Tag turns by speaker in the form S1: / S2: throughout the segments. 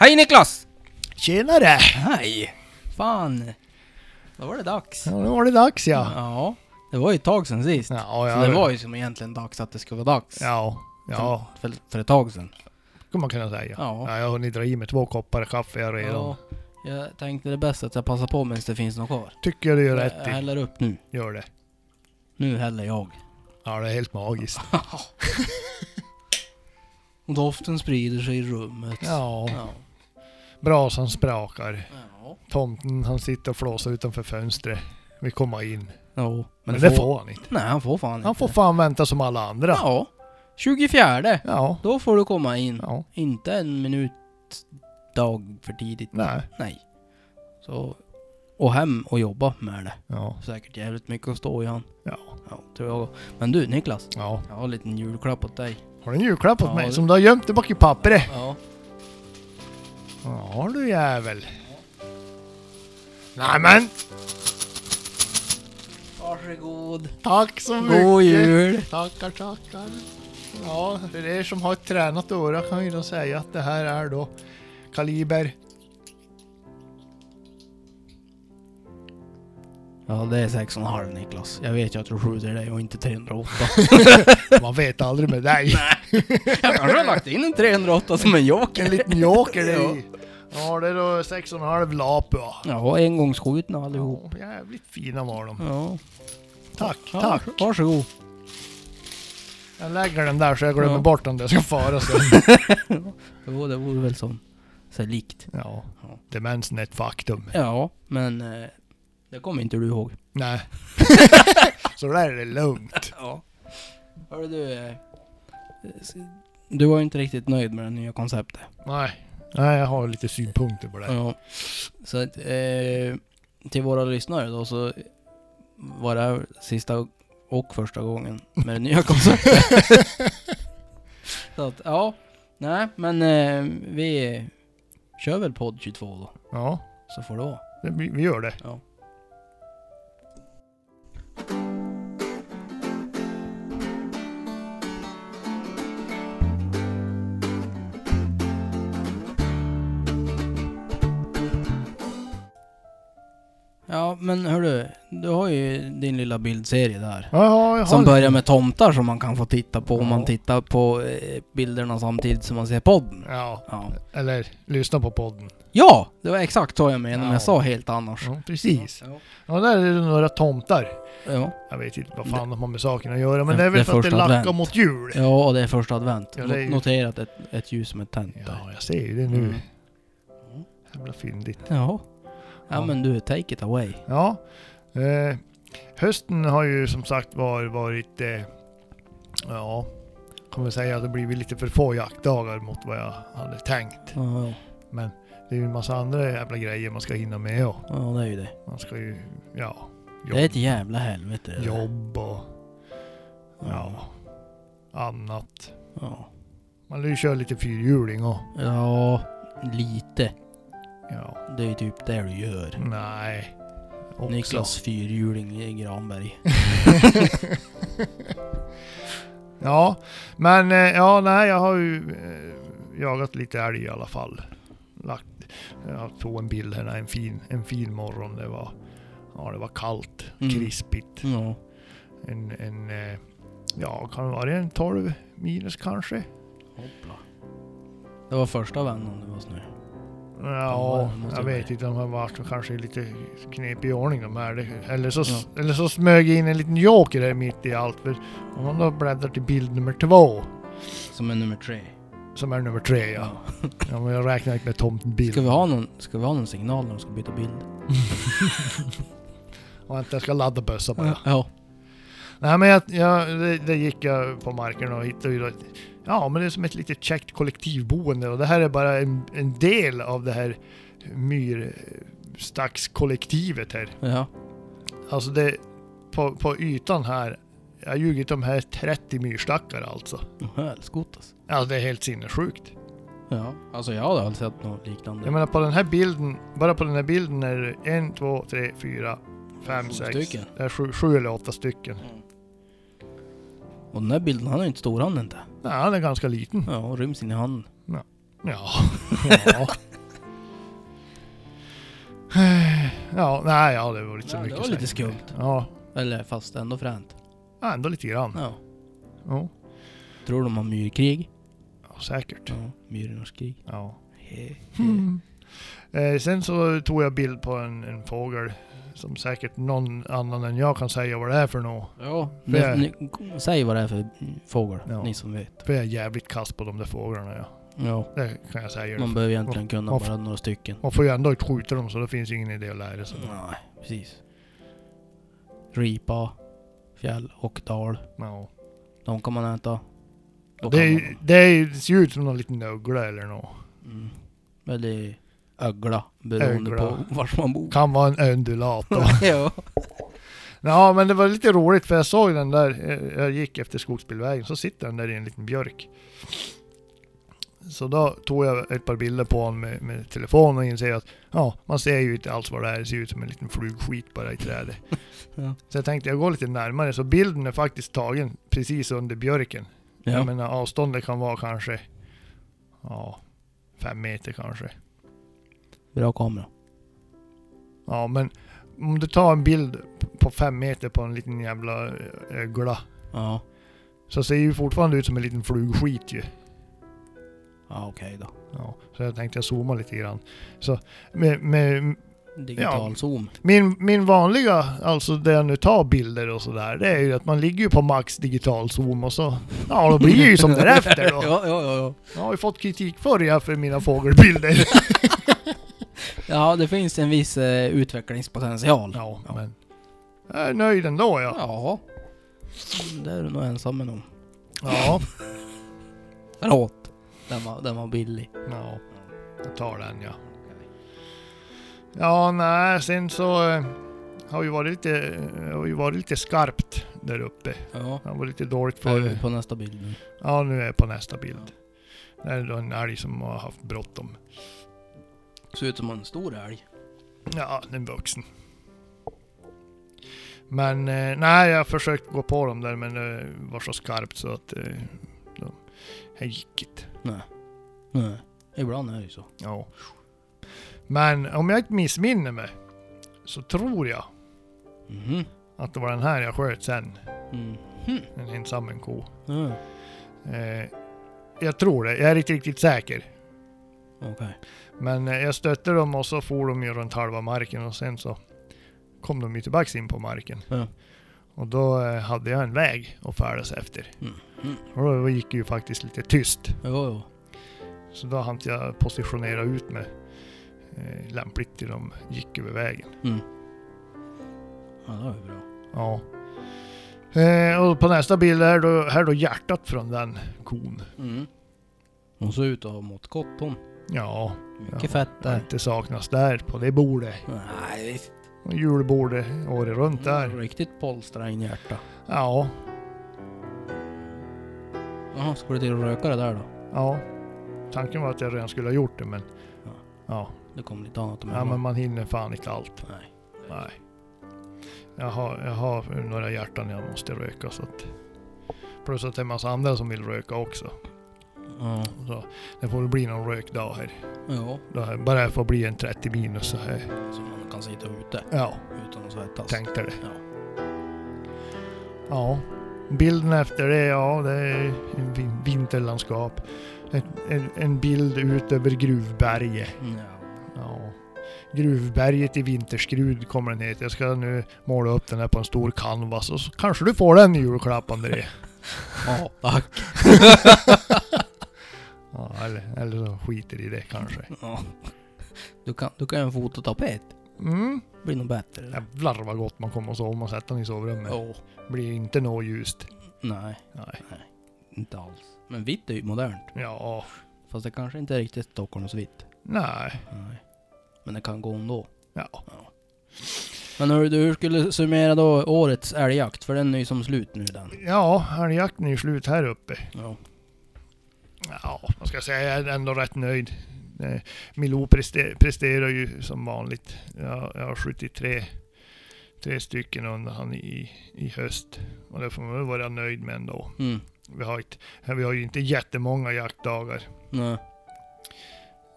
S1: Hej Niklas!
S2: Tjenare!
S1: Hej! Fan. Då var det dags.
S2: Ja, nu var det dags ja.
S1: Ja. Det var ju ett tag sedan sist.
S2: Ja,
S1: Så
S2: ja.
S1: det var ju som egentligen dags att det skulle vara dags.
S2: Ja, ja,
S1: För, för ett tag sedan.
S2: kan man kunna säga.
S1: Ja.
S2: Ja, jag har hunnit dra i mig två koppar kaffe här redan.
S1: Ja, jag tänkte det är bäst att jag passar på medan det finns något kvar.
S2: Tycker jag du gör
S1: Jag
S2: rätt i.
S1: häller upp nu.
S2: Gör det.
S1: Nu häller jag.
S2: Ja, det är helt magiskt.
S1: Och doften sprider sig i rummet.
S2: Ja.
S1: Ja.
S2: Brasan sprakar.
S1: Ja.
S2: Tomten han sitter och flåsar utanför fönstret. Vi kommer in. Men,
S1: Ja, Men,
S2: det får... han inte.
S1: Nej, han får fan
S2: Han
S1: inte.
S2: får fan vänta som alla andra.
S1: Ja. 24.
S2: Ja.
S1: Då får du komma in.
S2: Ja.
S1: Inte en minut dag för tidigt.
S2: Nej.
S1: Nej. Så... Och hem och jobba med det.
S2: Ja.
S1: Säkert jävligt mycket att stå i han.
S2: Ja.
S1: Ja, tror jag. Men du Niklas.
S2: Ja.
S1: Jag har en liten julklapp åt dig.
S2: Har du en julklapp åt
S1: Ja,
S2: mig
S1: det-
S2: som du har gömt tillbaka i pappret?
S1: Ja.
S2: Ja du jävel. Nej men,
S1: Varsågod.
S2: tack så mycket.
S1: God jul.
S2: Tackar, tackar. Ja, för er som har ett tränat öra kan ju då säga att det här är då kaliber.
S1: Ja det är 6,5 Niklas. Jag vet ju att du skjuter dig och inte 308.
S2: Man vet aldrig med dig.
S1: jag kanske har lagt in en 308 som en joker.
S2: En liten joker det är. Ja, det är då 6,5 lap. Ja.
S1: Ja engångsskjutna allihop.
S2: Ja, Jävligt fina var de.
S1: Ja.
S2: Tack,
S1: ja
S2: tack.
S1: Varsågod.
S2: Jag lägger den där så jag glömmer
S1: Ja.
S2: bort den där jag ska fara sen.
S1: Jo det vore väl som. Så likt.
S2: Ja, demensen är ett faktum.
S1: Ja men. Eh, det kommer inte du ihåg.
S2: Nej. så där är det lugnt.
S1: Ja. Hörru du. eh, s- Du var ju inte riktigt nöjd med det nya konceptet.
S2: Nej. Nej, jag har lite synpunkter på det. här.
S1: Ja. Så att, eh, till våra lyssnare då så var det här sista och första gången med det nya konceptet. så att, ja. Nej, men eh, vi kör väl podd 22 då.
S2: Ja,
S1: Så får det vara.
S2: det, vi, vi gör det.
S1: Ja. Ja, men hörru, du har ju din lilla bildserie där.
S2: Ja, ja, jag har
S1: Som
S2: lite-
S1: börjar med tomtar som man kan få titta på om man
S2: Ja.
S1: tittar på eh, bilderna samtidigt som man ser podden.
S2: Ja,
S1: Ja,
S2: eller lyssna på podden.
S1: ja det var exakt så jag menade, men
S2: Ja.
S1: jag sa helt annars.
S2: Ja, precis.
S1: Ja.
S2: Ja, där är det några tomtar.
S1: Ja.
S2: Jag vet inte vad fan de har med saken att göra, men det
S1: Det-
S2: är väl
S1: det är
S2: för att det
S1: första
S2: lackar
S1: advent.
S2: mot jul.
S1: Ja, och det är första advent.
S2: Ja, det är ju-
S1: Notera att ett, ett ljus som är tänt där.
S2: Ja, jag ser ju det
S1: Mm.
S2: nu. Jävla fyndigt.
S1: Jaha. Ja
S2: Ja.
S1: men du, take it away.
S2: Ja. Eh, hösten har ju som sagt var, varit... Eh, ja, kan man säga att det blivit lite för få jaktdagar mot vad jag hade tänkt.
S1: Ja,
S2: Men det är ju en massa andra jävla grejer man ska hinna med och
S1: ja det är ju det.
S2: man ska ju, ja,
S1: Det är ett jävla helvete. det där.
S2: jobb och ja, annat.
S1: Ja.
S2: Man vill ju köra lite fyrhjuling och...
S1: Ja, lite.
S2: Ja.
S1: Det är ju typ det du gör.
S2: Nej. Mm. Också.
S1: Niklas fyrhjuling i Granberg.
S2: ja. Men eh, ja, nej, jag har ju eh, jagat lite älg i alla fall. Lagt, jag tog en bild här, en fin, en fin morgon. Det var, ja, det var kallt,
S1: Mm.
S2: krispigt.
S1: Ja.
S2: En, en, eh, ja, kan det vara en 12 minus kanske?
S1: Hoppla. Det var första vändan det var snö.
S2: Ja,
S1: det måste
S2: jag
S1: det
S2: vet
S1: vara.
S2: inte om det var kanske lite knepig ordning de här. Det- Eller så, eller så smög jag in en liten joker här mitt i allt. För om man då bläddrar till bild nummer två,
S1: Som är nummer tre.
S2: som är nummer tre ja. ja men jag räknar inte med tomtbild.
S1: Ska vi ha någon, ska vi ha någon signal när de ska byta bild?
S2: Vänta, jag ska ladda bössa bara.
S1: Ja.
S2: Nej men jag, jag, det, det gick jag på marken och hittade ju då ett, Ja men det är som ett litet käckt kollektivboende och det här är bara en, en del av det här myrstackskollektivet här.
S1: Ja.
S2: Alltså det, på, på ytan här, jag har ljugit om här 30 myrstackar alltså.
S1: Helskotas.
S2: Alltså det är helt sinnessjukt.
S1: Ja. Alltså jag hade aldrig sett något liknande.
S2: Jag menar på den här bilden, bara på den här bilden är det en, två, tre, fyra, fem,
S1: Sju
S2: sex.
S1: stycken.
S2: Det är sju, sju eller åtta stycken.
S1: Mm. Och den där bilden, han är ju inte stor han inte.
S2: Nej, han är ganska liten.
S1: Ja, och ryms in i handen.
S2: Ja. ja. Ja, nej, ja, det var lite så
S1: Ja, det
S2: mycket
S1: var lite
S2: säg.
S1: skumt.
S2: Ja,
S1: Eller fast ändå fränt.
S2: ja, ändå lite grann. Ja.
S1: Ja. Tror de har myrkrig?
S2: Ja, säkert.
S1: Ja, myrornas krig.
S2: Ja.
S1: He- he.
S2: Mm. Eh, sen så tog jag bild på en, en fågel som säkert någon annan än jag kan säga vad det är för något.
S1: Ja,
S2: Det
S1: ni,
S2: är-
S1: ni, säg vad det är för fågel,
S2: Ja.
S1: ni som vet.
S2: För jag är jävligt kass på de där fåglarna. Ja.
S1: Ja,
S2: Det kan jag säga.
S1: man behöver egentligen kunna
S2: varför-
S1: bara några stycken.
S2: Man får ju ändå inte skjuta dem så det finns ju ingen idé att lära sig.
S1: Nej, precis. Ripa, fjäll och dal.
S2: Ja.
S1: De kan man äta. Då
S2: Det,
S1: kan
S2: är-
S1: man.
S2: det är- ser ju ut som någon liten ögla eller något.
S1: Mm. Men det är ögla, beroende
S2: Ögla.
S1: på var man bor.
S2: Kan vara en undulator.
S1: ja.
S2: Ja, men det var lite roligt för jag såg den där, eh, jag gick efter skogsbilvägen, så sitter den där i en liten björk. Så då tog jag ett par bilder på honom med, med telefonen och inser att ja, man ser ju inte alls vad det är, det ser ut som en liten flugskit bara i trädet.
S1: Ja.
S2: Så jag tänkte jag går lite närmare, så bilden är faktiskt tagen precis under björken. Jag
S1: ja.
S2: menar avståndet kan vara kanske, ja, fem meter kanske.
S1: Bra kamera.
S2: Ja, men om du tar en bild på fem meter på en liten jävla eh, ögla
S1: Ja.
S2: Så ser ju fortfarande ut som en liten flugskit ju.
S1: Ja, okej då.
S2: Ja, så jag tänkte jag zooma lite grann. Så med, med,
S1: Digital zoom.
S2: min, min vanliga, alltså där jag nu tar bilder och sådär, det är ju att man ligger ju på max digital zoom och så, ja då blir det ju som därefter då.
S1: ja, ja, ja, ja.
S2: Jag har ju fått kritik förr jag för mina fågelbilder.
S1: Ja, det finns en viss eh, utvecklingspotential.
S2: Ja, men jag är nöjd ändå ja.
S1: Ja. Mm, Det är du nog ensam med någon.
S2: Ja,
S1: Förlåt. Den var, den var billig.
S2: ja. jag tar den ja. Ja, nej, sen så eh, har ju varit lite, eh, har ju varit lite skarpt där uppe.
S1: Ja.
S2: Han var lite dåligt
S1: Är
S2: för...
S1: vi på nästa bild nu?
S2: Ja, nu är jag på nästa bild. Det är då en älg som har haft bråttom.
S1: Ser ut som en stor älg.
S2: Ja, den är vuxen. Men eh, nej, jag försökte gå på dem där men det var så skarpt så att... Eh, de, jag gick inte.
S1: Nej. Nej. Ibland är det ju så.
S2: Ja. Men om jag inte missminner mig så tror jag
S1: Mhm.
S2: att det var den här jag sköt sen.
S1: Mhm.
S2: En ensam en ko.
S1: Ja.
S2: Eh, jag tror det. Jag är inte riktigt säker.
S1: Okej.
S2: Men eh, jag stötte dem och så for de ju runt halva marken och sen så kom de ju tillbaks in på marken.
S1: Ja.
S2: Och då eh, hade jag en väg att färdas efter.
S1: Mm.
S2: Och då gick det ju faktiskt lite tyst.
S1: Jo, jo.
S2: Så då hann jag positionera ut mig eh, lämpligt till de gick över vägen.
S1: Mm. Ja, det var ju bra.
S2: Ja. Eh, och på nästa bild här då, här då hjärtat från den kon.
S1: Mm. Hon såg ut att ha mått gott hon.
S2: Ja,
S1: Mycket
S2: Ja.
S1: fett
S2: det
S1: där.
S2: inte saknas där på det bordet.
S1: Nej, visst.
S2: Och Julbordet året runt där.
S1: Riktigt polstringhjärta.
S2: Ja,
S1: Jaha, ska du till att röka det där då?
S2: ja. Tanken var att jag redan skulle ha gjort det men...
S1: Ja.
S2: Ja.
S1: Det kom lite annat om
S2: Ja men man hinner fan inte allt.
S1: Nej.
S2: Nej. Jag har, jag har några hjärtan jag måste röka så att... Plus att det är en massa andra som vill röka också.
S1: Ja.
S2: Så det får bli någon rökdag här.
S1: Ja.
S2: Det här bara det får bli en 30 minus så här.
S1: Så man kan sitta ute
S2: Ja,
S1: utan att svettas.
S2: tänkte det.
S1: Ja.
S2: Ja. Bilden efter det, ja det är en vin- vinterlandskap. En, en, en bild ut över Gruvberget.
S1: Ja.
S2: Ja. Gruvberget i vinterskrud kommer den heta. Jag ska nu måla upp den här på en stor canvas och så kanske du får den i julklapp André.
S1: ja, tack.
S2: Ja, eller, eller så skiter i det kanske.
S1: Ja. Du kan, du kan göra en fototapet.
S2: Mm.
S1: Blir nog bättre. eller?
S2: Jävlar vad gott man kommer att sova om man sätter den i sovrummet.
S1: Ja.
S2: Blir inte nå ljust.
S1: Nej,
S2: Nej.
S1: inte alls. Men vitt är ju modernt.
S2: Ja.
S1: Fast det kanske inte är riktigt Stockholmsvitt.
S2: Nej.
S1: Nej. Men det kan gå ändå.
S2: Ja.
S1: Men hur, du, hur skulle du summera då årets älgjakt? För den är ju som slut nu den.
S2: Ja, älgjakten är ju slut här uppe.
S1: Ja.
S2: Ja, vad ska jag säga? Jag är ändå rätt nöjd. Eh, Milou preste- presterar ju som vanligt. Jag, jag har skjutit tre, tre stycken under han i, i höst. Och det får man väl vara nöjd med ändå.
S1: Mm.
S2: Vi har, ett, vi har ju inte jättemånga jaktdagar.
S1: Nej.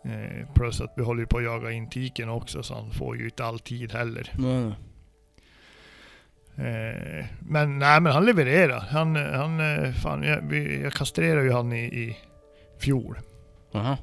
S2: Eh, plus att vi håller ju på att jaga in tiken också så han får ju inte all tid heller.
S1: Nej.
S2: Eh, men nej, men han levererar. Han, han, eh, fan, jag, vi, jag kastrerade ju han i, i fjol.
S1: Aha.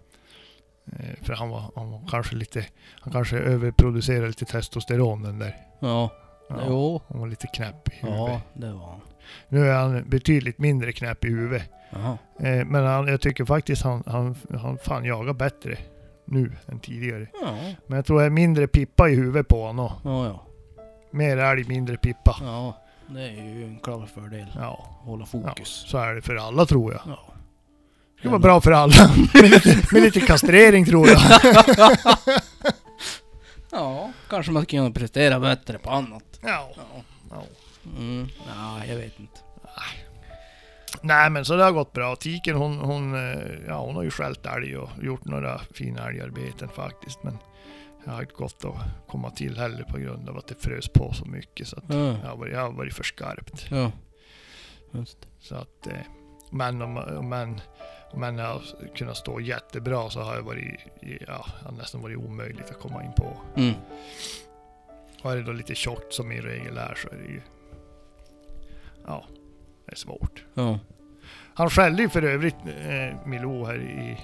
S2: Eh, för han var, han var kanske lite, han kanske överproducerade lite testosteron den där.
S1: Ja.
S2: Ja,
S1: Jo.
S2: Han var lite knäpp i huvudet.
S1: Ja, det var han.
S2: Nu är han betydligt mindre knäpp i huvudet.
S1: Jaha.
S2: Eh, men han, jag tycker faktiskt han, han, han fan jagar bättre nu än tidigare.
S1: Ja.
S2: Men jag tror det är mindre pippa i huvudet på honom. och
S1: Ja, ja.
S2: Mer älg, mindre pippa.
S1: Ja. Det är ju en klar fördel.
S2: Ja,
S1: Hålla fokus.
S2: så är det för alla tror jag.
S1: Ja.
S2: Det skulle vara bra för alla. med, lite, med lite kastrering tror jag.
S1: Ja, kanske man kan prestera bättre på annat.
S2: Ja.
S1: Ja.
S2: Ja.
S1: Mm. Nej, jag vet inte.
S2: Nej men så det har gått bra. Tiken hon, hon, eh, ja, hon har ju skällt älg och gjort några fina älgarbeten faktiskt. Men jag har inte gått att komma till heller på grund av att det frös på så mycket. Så att jag,
S1: Ja.
S2: har varit, jag har varit för skarpt.
S1: Ja. Just.
S2: Så att, eh, men om, om, en, om en har kunnat stå jättebra så har jag varit, ja, har nästan varit omöjligt att komma in på.
S1: Mm.
S2: Och är det då lite tjockt som i regel är så är det ju... Ja, det är svårt.
S1: Ja.
S2: Han skällde ju för övrigt eh, Milou här i...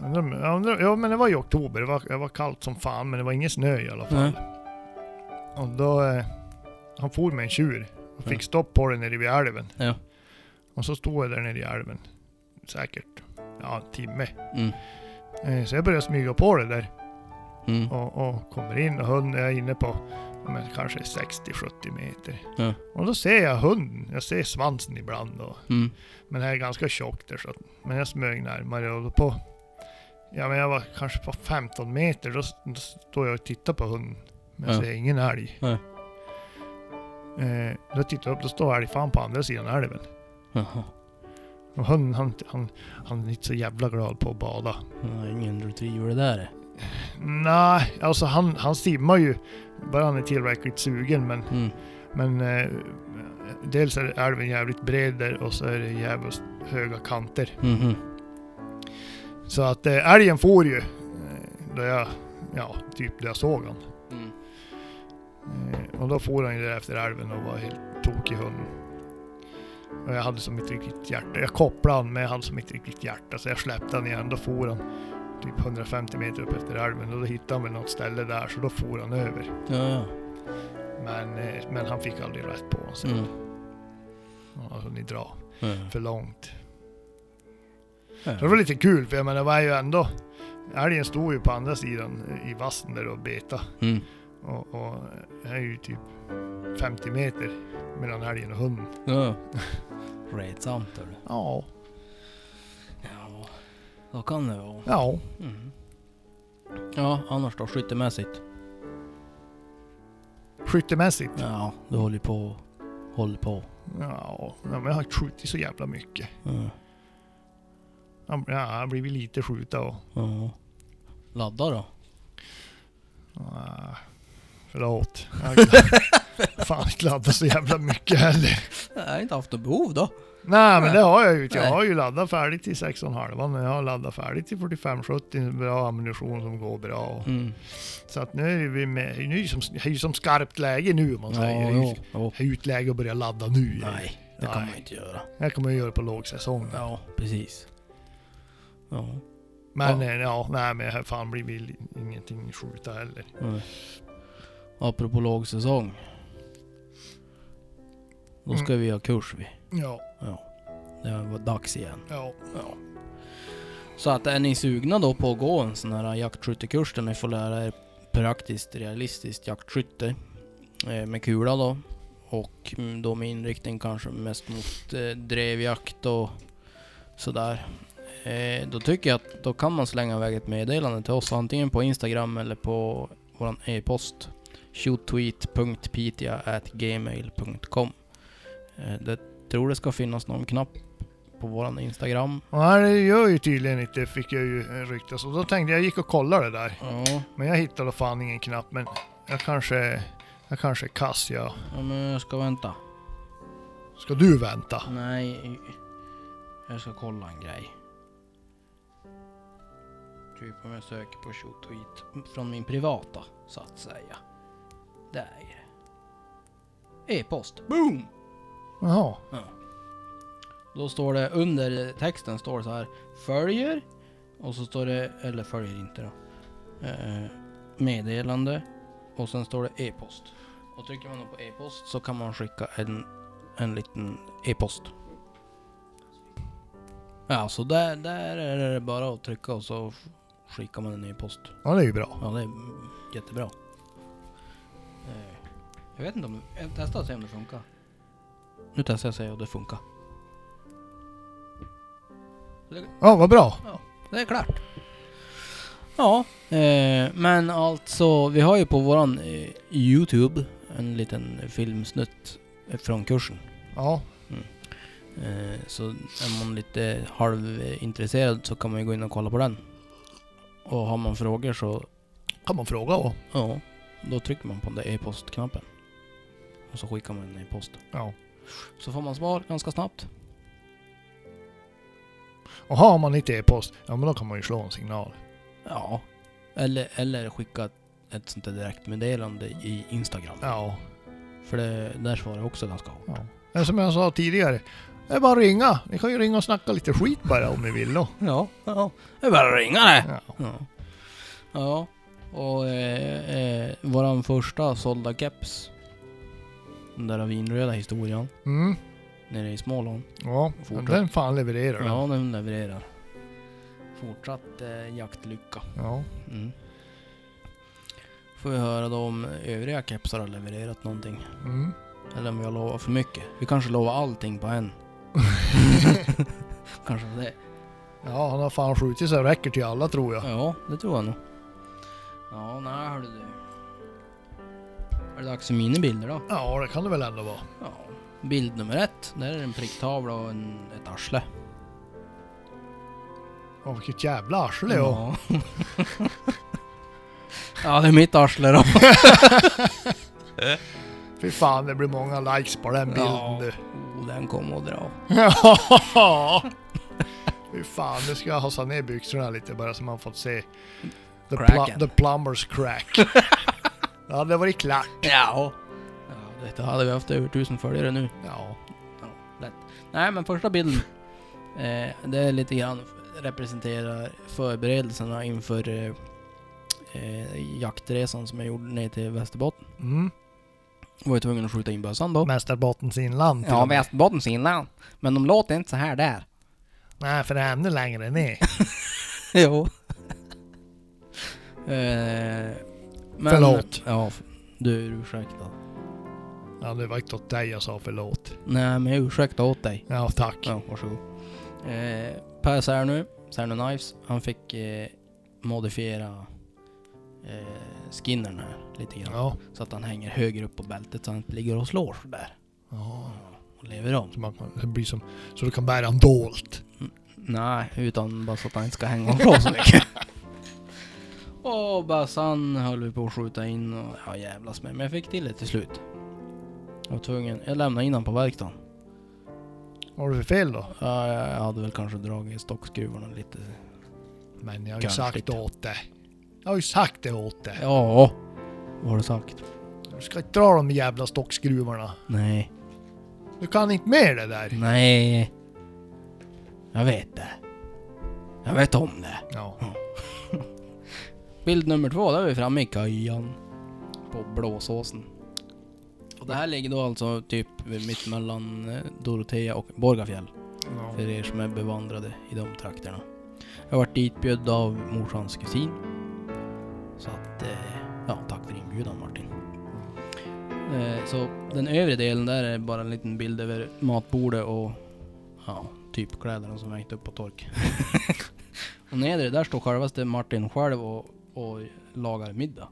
S2: jag undrar om- jag undrar- Ja men det var i oktober, det var, det var kallt som fan men det var ingen snö i alla fall. Och då... Eh, han for med en tjur och fick
S1: Ja.
S2: stopp på den nere vid älven.
S1: Ja.
S2: Och så stod jag där nere i älven. Säkert, ja en timme.
S1: Mm.
S2: Eh, så jag började smyga på det där
S1: Mm.
S2: och, och kommer in och hunden är inne på ja, men kanske 60-70 meter.
S1: Ja.
S2: Och då ser jag hunden, jag ser svansen ibland och,
S1: Mm.
S2: men det här är ganska tjockt där så att, men jag smög närmare och då på Ja men jag var kanske på 15 meter, då, s- då står jag och tittar på hunden. Men jag
S1: Ja.
S2: ser ingen älg.
S1: Nej.
S2: Eh, då tittar jag upp, då står älgfan på andra sidan älven.
S1: Jaha.
S2: Och hunden, han, han, han är inte så jävla glad på att bada.
S1: Ja, ingen retriever det där. är.
S2: Nej, alltså han, han simmar ju bara han är tillräckligt sugen men
S1: Mm.
S2: Men eh, dels är älven jävligt bred där och så är det jävligt höga kanter.
S1: Mhm.
S2: Så att eh, älgen får ju eh, då jag, ja, typ där jag såg han.
S1: Mm.
S2: Eh, och då får han ju där efter älven och var helt tokig hund. Och jag hade som inte riktigt hjärta. Jag kopplade han men jag hade som inte riktigt hjärta så jag släppte han igen. Då for han typ 150 meter upp efter älven och då hittade han väl något ställe där så då for han över.
S1: Ja, ja.
S2: Men, eh, men han fick aldrig rätt på honom sen.
S1: Mm.
S2: Han har hunnit dra
S1: Ja.
S2: för långt. Så det var
S1: Ja.
S2: lite kul för jag menar det var ju ändå Älgen stod ju på andra sidan i vassen där och beta
S1: Mm.
S2: och, och det är ju typ 50 meter mellan älgen och hunden.
S1: Ja. Retsamt hördu.
S2: Ja.
S1: Ja. Så kan det vara.
S2: Ja.
S1: Mm. Ja, annars då? Skyttemässigt?
S2: Skyttemässigt?
S1: Ja, du håller ju på och håller på.
S2: Ja. ja, men jag har inte skjutit så jävla mycket.
S1: Ja.
S2: Ja, jag har blivit lite skjuta och...
S1: ja. Ladda då?
S2: Ah, förlåt. Jag har fan inte laddat så jävla mycket heller.
S1: Jag har inte haft något behov då.
S2: Nej men det har jag ju inte. Jag
S1: Nej.
S2: har ju laddat färdigt till 6,5 men jag har laddat färdigt till 45-70. Bra ammunition som går bra och...
S1: Mm.
S2: Så att nu är vi med, nu är det som, det är ju som skarpt läge nu om man säger. Det är ju-
S1: jo, jo.
S2: det är ju inte läge att börja ladda nu.
S1: Nej, det kan
S2: Nej.
S1: man inte göra.
S2: Jag kommer att göra det på lågsäsong.
S1: Ja, precis. Ja.
S2: Men
S1: Ja.
S2: ja. ja, nej men här fan blir väl ingenting skjuta heller.
S1: Nej. Apropå lågsäsong. Då ska
S2: Mm.
S1: vi ha kurs vi.
S2: Ja,
S1: Det var dags igen.
S2: ja.
S1: Så att är ni sugna då på att gå en sån här jaktskyttekurs där ni får lära er praktiskt realistiskt jaktskytte eh, med kula då och mm, då med inriktning kanske mest mot eh, drevjakt och sådär. Eh, då tycker jag att då kan man slänga iväg ett meddelande till oss antingen på Instagram eller på våran e-post shottweet.pitia.gmail.com eh, Det tror det ska finnas någon knapp på våran Instagram.
S2: Och här gör ju tydligen inte, fick jag ju eh, ryktas. Och då tänkte jag, jag gick och kollade det där.
S1: Ja.
S2: Men jag hittade fan ingen knapp. Men jag kanske, jag kanske är kass ja.
S1: Ja, men jag ska vänta.
S2: Ska du vänta?
S1: Nej, jag ska kolla en grej. Typ om jag söker på tjot och hit från min privata, så att säga. Där är det. E-post. Boom!
S2: Jaha.
S1: Då står det under texten står det så här Följer och så står det, eller följer inte då. Eh, meddelande och sen står det e-post. Och trycker man då på e-post så kan man skicka en, en liten e-post. Ja, så där, där är det bara att trycka och så skickar man en e-post.
S2: Ja, det är ju bra.
S1: Ja, det är jättebra. Eh, Jag vet inte om... Jag testar och se om det funkar. Nu testar jag och ser om det funkar.
S2: Ja, vad bra.
S1: Det är klart. Ja, eh, men alltså vi har ju på våran eh, Youtube en liten filmsnutt från kursen.
S2: Ja,
S1: Eh, så är man lite halvintresserad så kan man ju gå in och kolla på den. Och har man frågor så
S2: kan man fråga då?
S1: Ja, då trycker man på den där e-postknappen. Och så skickar man en e-post.
S2: Ja.
S1: Så får man svar ganska snabbt.
S2: Och har man inte e-post, ja men då kan man ju slå en signal.
S1: Ja. Eller, eller skicka ett- ett sånt där direktmeddelande i Instagram.
S2: Ja.
S1: För det, där svarar jag också ganska hårt.
S2: ja. Men som jag sa tidigare, det är bara att ringa. Ni kan ju ringa och snacka lite skit bara om ni vill då.
S1: Ja, ja. Det är bara att ringa det!
S2: Ja.
S1: Ja. Ja. Och eh, eh, våran första sålda keps. Den där vinröda historien.
S2: Mm.
S1: Nere i Småland.
S2: Ja,
S1: Fortsätt.
S2: den fan levererar den.
S1: Ja, den levererar. Fortsatt eh, jaktlycka.
S2: Ja.
S1: Mm. Får vi höra då om övriga kepsar har levererat någonting.
S2: Mm.
S1: Eller om vi har lovat för mycket. Vi kanske lovar allting på en. kanske det.
S2: ja, han har fan skjutit så det räcker till alla tror jag.
S1: Ja, det tror jag nog. Ja, nej hörru du. Är det dags för minibilder då?
S2: Ja, det kan det väl ändå vara.
S1: Ja. Bild nummer ett. Där är det en pricktavla och en, ett arsle.
S2: Ja, vilket jävla arsle ja.
S1: Ja. ja, det är mitt arsle då.
S2: Fy fan, det blir många likes på den bilden
S1: Ja.
S2: du.
S1: Oh, den kom att dra.
S2: Ja. Fy fan, nu ska jag hassa ner byxorna lite bara så man fått se the,
S1: Cracken.
S2: pl- the plumbers crack. ja, det var klart.
S1: Ja. ja. Det hade vi haft över tusen följare nu.
S2: Ja.
S1: Nej, men första bilden. Eh, det är lite grann representerar förberedelserna inför eh, eh, jaktresan som jag gjorde ner till Västerbotten.
S2: Mm.
S1: Var ju tvungen att skjuta in bössan då.
S2: Västerbottens inland. till
S1: ja,
S2: och med.
S1: Västerbottens inland. Men de låter inte så här där.
S2: Nej, för det är ännu längre ner.
S1: jo. eh, men,
S2: Förlåt.
S1: Ja, f- du är ursäktad.
S2: ja, det var inte åt dig jag sa förlåt.
S1: Nej, men jag ursäktar åt dig.
S2: Ja, tack.
S1: Ja, varsågod. Eh, per Särnu, Särnu Knives, han fick eh, modifiera eh, skinnern här lite grann.
S2: Ja.
S1: Så att han hänger högre upp på bältet så han inte ligger och slår sådär.
S2: ja.
S1: Och lever om.
S2: Så, man kan, det blir som, så du kan bära en dolt.
S1: Nej, utan bara så att han inte ska hänga och slå så mycket. Och bassan höll vi på att skjuta in och ja, jävlas med. Men jag fick till det till slut. Jag var tvungen. Jag lämnade in honom på verkstaden.
S2: Vad har du för fel då?
S1: Ja, Jag, jag hade väl kanske dragit stockskruvarna lite.
S2: Men jag har ju
S1: Kanske
S2: sagt
S1: inte.
S2: åt dig. Jag har ju sagt det åt dig.
S1: Ja, vad har du sagt?
S2: Du ska inte dra de jävla stockskruvarna.
S1: Nej.
S2: Du kan inte med det där.
S1: Nej. Jag vet det. Jag vet om det.
S2: Ja.
S1: Bild nummer två, där är vi framme i kajan. På blåsåsen. Och det här ligger då alltså typ mitt mellan eh, Dorotea och Borgafjäll.
S2: ja.
S1: För er som är bevandrade i de trakterna. Jag vart ditbjuden av morsans kusin. Så att, eh, ja tack för inbjudan Martin. Eh, Så den övre delen där är bara en liten bild över matbordet och ja, typ kläderna som hängt upp på tork. och nedre där står självaste Martin själv och, och lagar middag.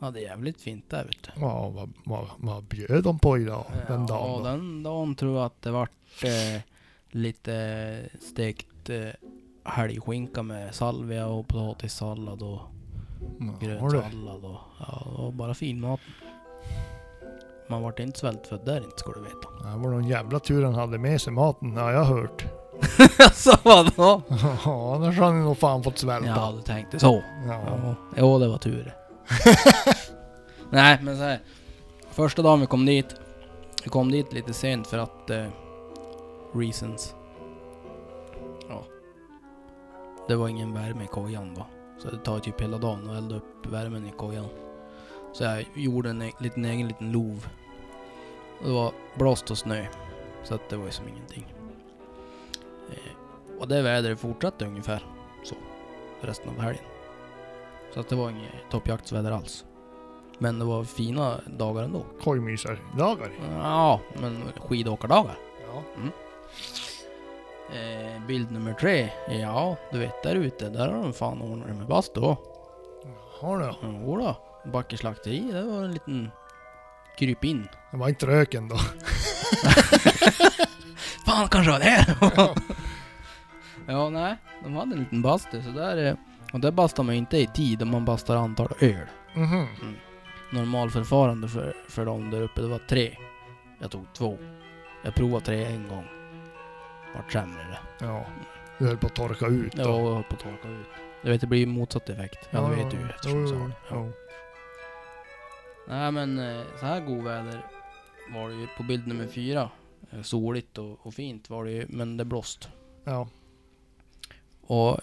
S1: Ja det är jävligt fint där ute.
S2: Ja, vad, vad, vad bjöd de på idag? Den
S1: Ja,
S2: dagen? då?
S1: den dagen tror jag att det vart eh, lite stekt eh, helgskinka med salvia och potatissallad och
S2: Ja, har du?
S1: grönsallad och ja, det var bara finmat. Man vart inte svältfödd där inte skulle du veta.
S2: Det var någon jävla tur han hade med sig maten, har jag hört.
S1: alltså vadå?
S2: Ja, annars hade ni nog fan fått
S1: Ja,
S2: svälta.
S1: du tänkte så.
S2: Ja.
S1: Ja, jo, det var tur. Nej, men så här. Första dagen vi kom dit. Vi kom dit lite sent för att... Eh, reasons. Ja. Det var ingen värme i kojan då. Så det tar typ hela dagen att elda upp värmen i kojan. Så jag gjorde en e- liten egen liten lov. Och det var blåst och snö. Så att det var ju som ingenting. Eh, och det vädret fortsatte ungefär så. Resten av helgen. Så att det var inget toppjaktsväder alls. Men det var fina dagar ändå.
S2: Kojmysardagar.
S1: Ja, men skidåkardagar.
S2: Ja.
S1: Eh, bild nummer tre. Ja, du vet där ute, där har de fan ordnat det med bastu.
S2: Har du?
S1: Jodå. Backe slakteri, det var en liten kryp in.
S2: Det var inte röken då.
S1: Fan kanske var det! ja, nej. De hade en liten bastu, så där... eh, Och där bastar man ju inte i tid, man bastar antal öl.
S2: Mhm.
S1: normalförfarande för, för dem där uppe. Det var tre. Jag tog två. Jag provade tre en gång. Vart sämre det.
S2: Ja. Du höll på att torka ut
S1: Jag
S2: då.
S1: höll på att torka ut. Jag vet, det blir motsatt effekt. Ja, det vet du ju eftersom du sa det. Ja.
S2: Ja.
S1: Nej men eh, så här god väder var det ju på bild nummer fyra. Eh, Soligt och, och fint var det ju, men det blåst.
S2: ja.
S1: Och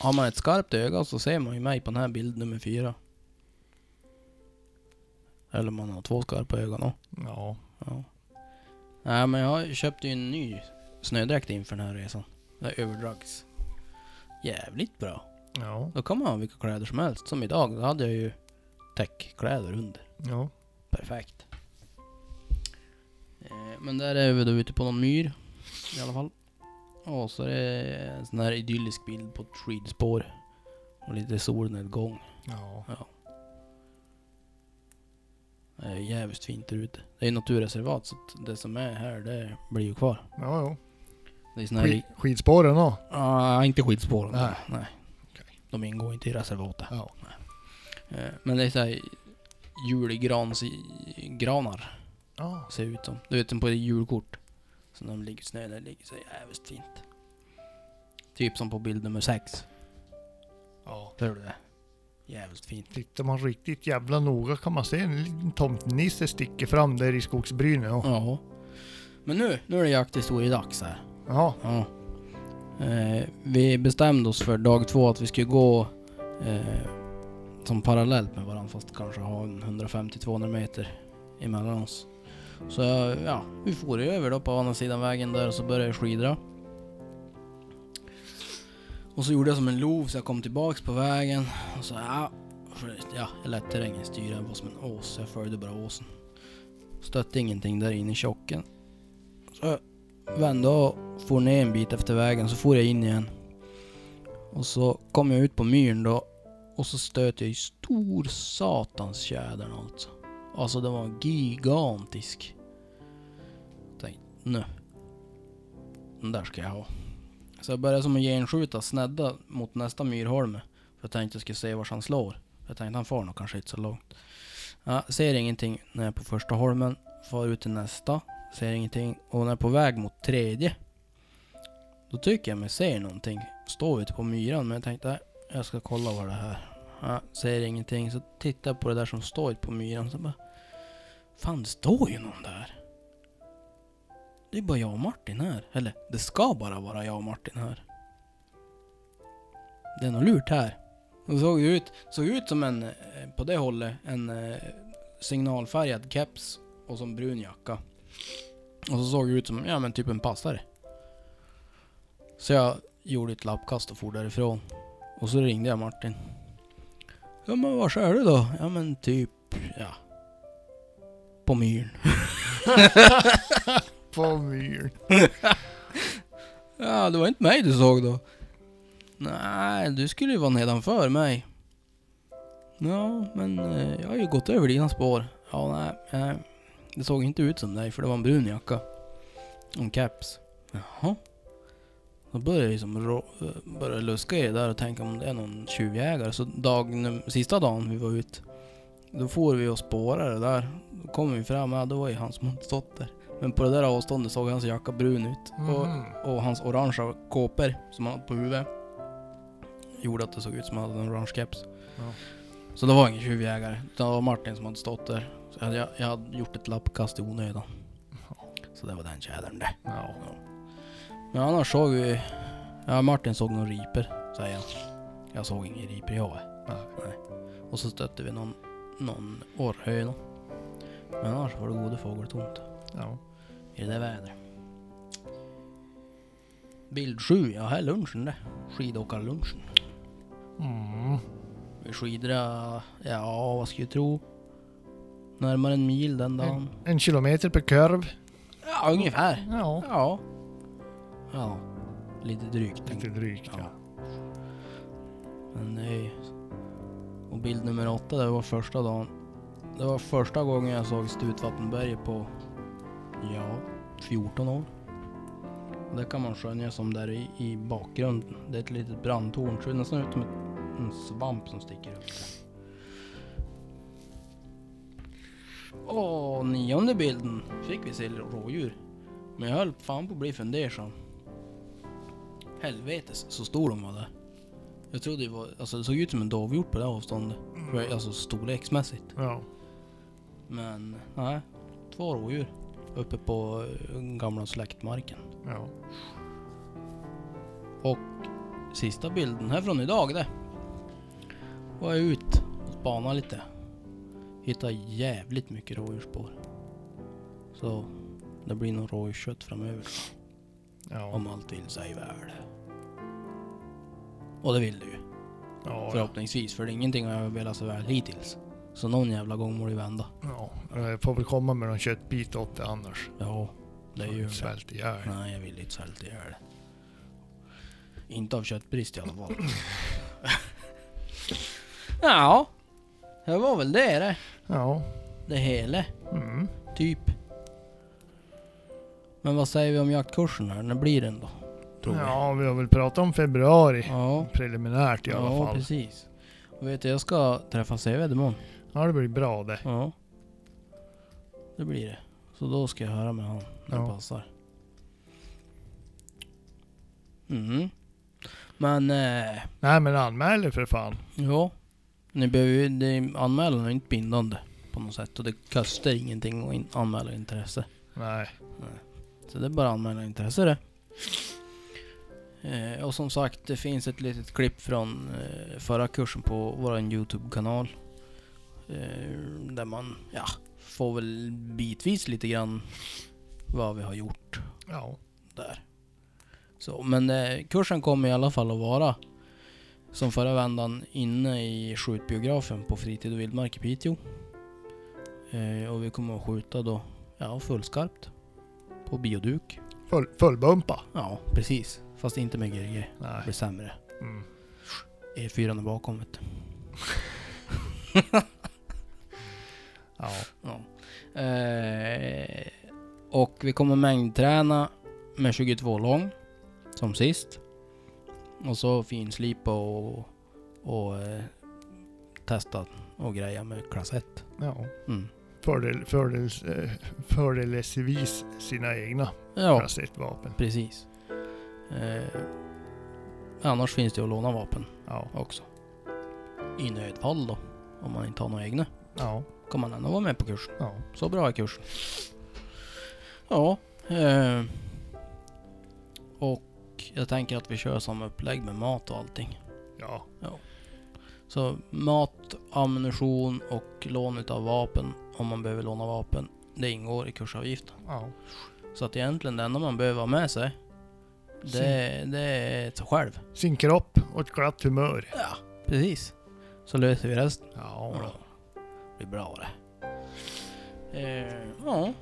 S1: har man ett skarpt öga så ser man ju mig på den här bild nummer fyra. Eller man har två skarpa ögon också.
S2: Ja.
S1: Ja. Nej men jag köpte ju en ny snödräkt inför den här resan. Det är överdrags. Jävligt bra.
S2: Ja.
S1: Då kan man ha vilka kläder som helst. Som idag, då hade jag ju täckkläder under.
S2: Ja.
S1: Perfekt. Eh, Men där är vi då ute på någon myr. I alla fall. Och så är det en sån här idyllisk bild på ett skidspår. Och lite solnedgång.
S2: Ja.
S1: Det är jävligt fint där ute. Det är ju naturreservat så att det som är här det blir ju kvar.
S2: Ja.
S1: Det är sån
S2: ja.
S1: här
S2: Skid, skidspåren då?
S1: Ja, inte skidspåren. Nej.
S2: Nej.
S1: Nej.
S2: Okej.
S1: De ingår inte i reservatet.
S2: Ja.
S1: Eh, Men det är såhär julgransgranar
S2: Ja.
S1: ser ut som. Du vet som på ett julkort. Så när de ligger i snö, det ligger så jävligt fint. Typ som på bild nummer sex.
S2: ja.
S1: Ser du det? Jävligt fint.
S2: Tittar man riktigt jävla noga kan man se en liten tomtenisse sticka fram där i skogsbrynet. Ja.
S1: Ja. Men nu, nu är det jakthistoriedags här.
S2: Ja.
S1: Ja. Eh, vi bestämde oss för dag två att vi skulle gå eh, som parallellt med varandra fast kanske ha en 150-200 meter emellan oss. Så ja, vi for ju över då på andra sidan vägen där och så började jag skidra. Och så gjorde jag som en lov så jag kom tillbaks på vägen och så ja, för- ja jag lät terrängen styra. Jag var som en ås, jag följde bara åsen. Stötte ingenting där inne i tjocken. Så jag vände och for ner en bit efter vägen så for jag in igen. Och så kom jag ut på myren då och så stötte jag i stor satans tjädern alltså. Alltså den var gigantisk. Tänkte, nu. Den där ska jag ha. Så jag började som att genskjuta snedda mot nästa myrholme. För jag tänkte jag skulle se vart han slår. Jag tänkte han far nog kanske inte så långt. Ja, ser ingenting när jag är på första holmen. Far ut till nästa. Ser ingenting. Och när jag är på väg mot tredje. Då tycker jag mig se någonting. Står ute på myran men jag tänkte "Nej, jag ska kolla vad det här. Ja, ser ingenting. Så tittar jag på det där som står ute på myran. Så bara. Fan det står ju någon där. Det är bara jag och Martin här. Eller det ska bara vara jag och Martin här. Det är något lurt här. Det såg ju ut, såg ut som en, eh, på det hållet, en eh, signalfärgad keps och som brun jacka. Och så såg det ut som, ja men typ en passare. Så jag gjorde ett lappkast och for därifrån. Och så ringde jag Martin. Ja men var är du då? Ja men typ, ja. På myren.
S2: På myren.
S1: Ja, det var inte mig du såg då. Nej, du skulle ju vara nedanför mig. Ja, men eh, jag har ju gått över dina spår. Ja, nej, nej. Det såg inte ut som dig för det var en brun jacka. Och en caps. Jaha. Då började jag liksom rå- eh, började luska i det där och tänka om det är någon tjuvjägare. Så dag, num- sista dagen vi var ut Då får vi och spåra det där. Då kom vi fram, ja då var ju han som hade stått där. Men på det där avståndet såg hans jacka brun ut. Och,
S2: Mhm.
S1: och hans orangea kåpor som han hade på huvudet gjorde att det såg ut som att han hade en orange keps.
S2: Ja.
S1: Så det var ingen tjuvjägare, utan det var Martin som hade stått där. Så jag, hade- jag, jag hade gjort ett lappkast i onödan. Så det var den tjädern det.
S2: Ja.
S1: Men annars såg vi... Ja, Martin såg några riper, säger han. Jag såg ingen riper jag.
S2: Nej.
S1: Nej. Och så stötte vi någon, någon orrhöna. Men annars var det gode fågeltomt
S2: ja.
S1: i det där vädret. Bild 7, ja här är lunchen det. Skidåkarlunchen.
S2: Mm.
S1: Vi skidra, ja vad ska jag tro? Närmare en mil den dagen.
S2: En kilometer per kurv.
S1: Ja, ungefär.
S2: Ja.
S1: Ja. Ja. Lite drygt.
S2: Lite drygt ja.
S1: Ja. Men det är ju... Och bild nummer åtta, det var första dagen. Det var första gången jag såg Stutvattenberget på, ja, 14 år. Och det kan man skönja som där i, i bakgrunden. Det är ett litet brandtorn, så det är nästan ut som ett, en svamp som sticker upp. där. Och nionde bilden fick vi se rådjur. Men jag höll fan på att bli fundersam. Helvetes så stor de var där. Jag trodde det var, alltså det såg ut som en dovhjort på det här avståndet. Alltså storleksmässigt.
S2: Ja.
S1: Men nej, två rådjur uppe på eh, gamla släktmarken.
S2: ja.
S1: Sista bilden här från idag det. Var jag ut och spanade lite. Hittade jävligt mycket rådjursspår. Så det blir nog rådjurskött framöver.
S2: Ja.
S1: Om allt vill sig väl. Och det vill det ju.
S2: Ja. Ja.
S1: Förhoppningsvis, för det är ingenting jag har velat så väl hittills. Så någon jävla gång må det vända.
S2: Eh, Får vi komma med någon köttbit åt det annars.
S1: Ja, det är ju...
S2: Svält ihjäl.
S1: Nej, jag vill inte svälta ihjäl. Inte av köttbrist i alla fall. ja, det var väl det det.
S2: Ja.
S1: Det hela,
S2: Mm.
S1: typ. Men vad säger vi om jaktkursen här? När blir den då? Tror vi.
S2: Ja, vi har väl pratat om februari.
S1: Ja,
S2: Preliminärt i alla
S1: ja
S2: fall.
S1: precis. Och vet du, jag ska träffa Seved imorgon.
S2: Ja, det blir bra det.
S1: Ja. typ. Det blir det. Så då ska jag höra med han när det
S2: Ja.
S1: passar. Mm. Men eh,
S2: Nej men anmäl er för fan.
S1: ja. Ni behöver ju, det- anmälan är inte bindande på något sätt och det kostar ingenting att in, anmäla intresse.
S2: Nej.
S1: Så det är bara att anmäla intresse det. Eh, och som sagt, det finns ett litet klipp från eh, förra kursen på vår Youtube-kanal. Eh, där man, ja, får väl bitvis lite grann vad vi har gjort
S2: Ja.
S1: där. Så, men eh, kursen kommer i alla fall att vara som förra vändan inne i skjutbiografen på fritid och vildmark i Piteå. Eh, och vi kommer att skjuta då, ja, fullskarpt på bioduk.
S2: Full, fullbumpa.
S1: Ja, precis. Fast inte med GG. Det blir
S2: Nej.
S1: sämre.
S2: Mm.
S1: E4 är bakom vet du.
S2: Ja.
S1: ja. eh, Och vi kommer mängdträna med 22 lång. Som sist. Och så finslipa och, och eh, testa och greja med klass 1.
S2: ja.
S1: Mm.
S2: Fördel, fördel, eh, fördelsevis sina egna
S1: Ja,
S2: kassettvapen.
S1: precis. Eh, annars finns det att låna vapen
S2: Ja.
S1: också. I nödfall då. Om man inte har några egna.
S2: Ja.
S1: Kan man ändå vara med på kursen.
S2: Ja.
S1: Så bra är kursen. Ja. Eh, och jag tänker att vi kör samma upplägg med mat och allting.
S2: Ja.
S1: Så mat, ammunition och lån av vapen, om man behöver låna vapen, det ingår i kursavgiften.
S2: ja.
S1: Så att egentligen det enda man behöver ha med sig, det, det är sig själv.
S2: Sin kropp och ett glatt humör.
S1: Ja, precis. Så löser vi resten.
S2: Ja.
S1: Ja.
S2: då.
S1: Det blir bra det. Eh, ja,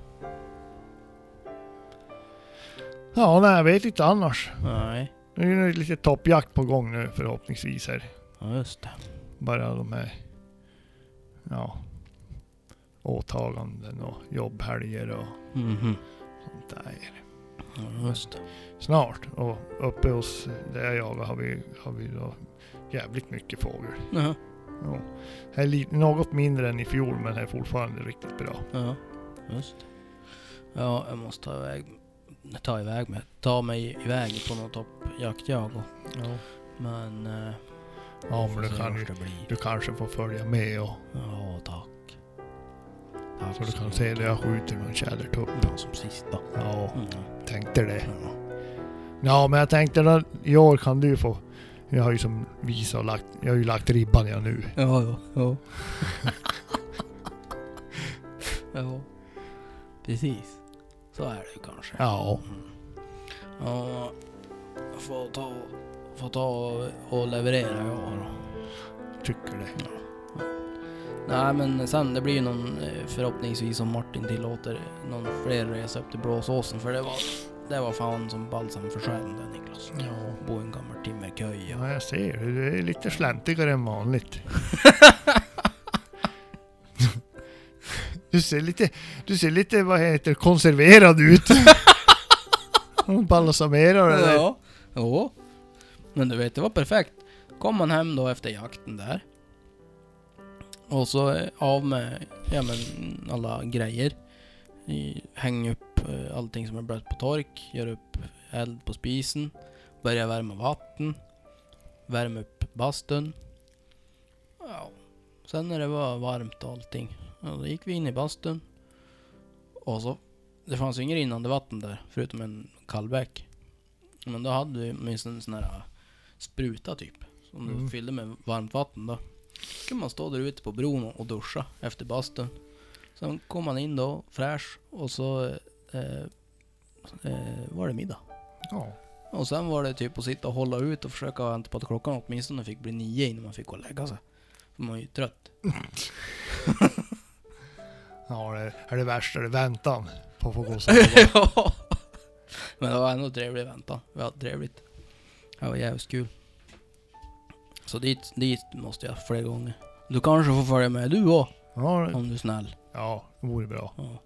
S2: Ja, nej jag vet inte annars.
S1: nej.
S2: Nu är det lite toppjakt på gång nu förhoppningsvis här.
S1: Ja, just det.
S2: Bara de här... Ja. Åtaganden och jobbhelger och
S1: Mhm.
S2: sånt där.
S1: Ja, just det.
S2: snart. Och uppe hos där jag jagar har vi, har vi då jävligt mycket fågel.
S1: Jaha.
S2: Ja. Här är lite, något mindre än i fjol men här är fortfarande riktigt bra.
S1: Ja, just det. Ja, jag måste ta iväg, ta iväg mig. Ta mig iväg på någon toppjakt jag och,
S2: Ja.
S1: Men... eh,
S2: Ja,
S1: vi
S2: men
S1: får
S2: det
S1: se
S2: kan
S1: vart
S2: ju-
S1: det blir.
S2: Du kanske får följa med och
S1: Ja, tack. Tack
S2: så du
S1: ska
S2: kan
S1: ha.
S2: se när jag skjuter någon tjädertupp.
S1: Ja, som sista.
S2: Ja,
S1: Mm.
S2: tänkte det.
S1: Ja.
S2: Ja, men jag tänkte att i år kan du få. Jag har ju som visat och lagt, jag har ju lagt ribban jag nu.
S1: Ja, ja, ja. ja, precis. Så är det ju kanske.
S2: Ja,
S1: Ja, jag får ta, får ta och, och leverera jag då.
S2: tycker det.
S1: Nej men sen det blir ju någon eh, förhoppningsvis om Martin tillåter någon fler resa upp till Blåsåsen för det var, det var fan som balsam för själen det Niklas.
S2: Ja.
S1: Bo en gammal timmerköja.
S2: Ja, jag ser det. Det är lite släntigare än vanligt. Du ser lite, du ser lite vad heter konserverad ut. Hon balsamerar det där.
S1: Ja. Jo. Men du vet det var perfekt. Kom man hem då efter jakten där. Och så eh, av med ja, men, alla grejer. I- Häng upp eh, allting som är blött på tork. Gör upp eld på spisen. Börja värma vatten. Värm upp bastun. Ja. Sen när det var varmt och allting. Ja, då gick vi in i bastun. Och så. Det fanns ju inget rinnande vatten där. Förutom en kallbäck. Men då hade vi åtminstone en sån här äh, spruta typ. Som du
S2: Mm.
S1: fyllde med varmt vatten då. Så kunde man stå där ute på bron och duscha efter bastun. Sen kom man in då fräsch och så eh, eh, var det middag.
S2: Ja.
S1: Och sen var det typ att sitta och hålla ut och försöka vänta på att klockan åtminstone fick bli nio innan man fick gå och lägga sig. För man är ju trött.
S2: Ja, det är det värsta. Det är väntan på att få gå och sova.
S1: Ja. Men det var ändå trevlig väntan. Vi hade trevligt. Det var jävligt kul. Så dit, dit måste jag fler gånger. Du kanske får följa med du också,
S2: Ja, det-
S1: om du är snäll.
S2: ja, det vore bra.
S1: Ja.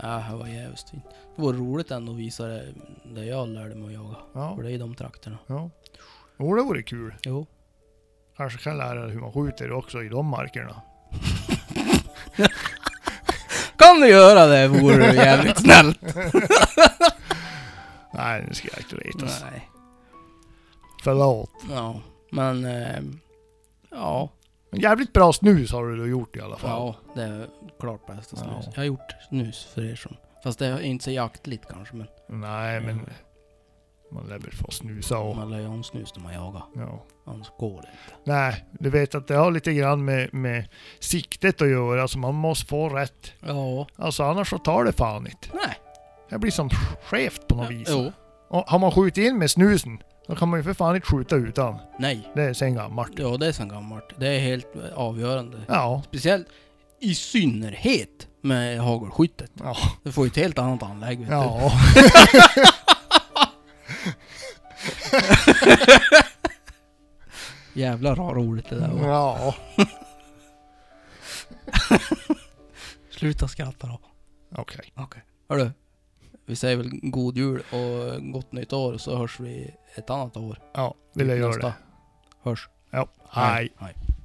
S1: Ja, det var jävligt fint. Det var roligt ändå att visa det, det jag lärde mig att jaga.
S2: Ja,
S1: För det är i de trakterna.
S2: ja. Jo, det vore kul.
S1: Jo.
S2: Kanske kan lära dig hur man skjuter också i de markerna.
S1: Kan du göra det vore det jävligt snällt.
S2: Nej, nu ska jag inte retas.
S1: Nej.
S2: Förlåt.
S1: Ja, men... Eh, ja,
S2: Men jävligt bra snus har du då gjort i alla fall.
S1: ja, det är klart bästa snus.
S2: Ja.
S1: Jag har gjort snus för er som... Fast det är inte så jaktligt kanske, men
S2: Nej,
S1: Mm.
S2: men man lär väl få snusa och...
S1: man lär ju om snus när man jagar.
S2: Ja.
S1: Annars går det inte.
S2: Nej, du vet att det har lite grann med, med siktet att göra. Alltså man måste få rätt.
S1: Ja.
S2: Alltså annars så tar det fan inte.
S1: Nej.
S2: Det blir som skevt på något vis.
S1: Jo.
S2: Och har man skjutit in med snusen, då kan man ju för fan inte skjuta utan.
S1: Nej.
S2: Det är sen gammalt.
S1: Ja, det är sen gammalt. Det är helt eh, avgörande.
S2: Ja.
S1: Speciellt i synnerhet med hagelskyttet.
S2: Ja.
S1: Du får ju ett helt annat anlägg vet du.
S2: Ja.
S1: Jävlar vad roligt det där var.
S2: Ja.
S1: Sluta skratta då.
S2: Okej.
S1: Hörru. Vi säger väl god jul och gott nytt år så hörs vi ett annat år.
S2: Ja, vill jag göra
S1: Nästa.
S2: det.
S1: Hörs.
S2: Ja. Hej.
S1: Hej.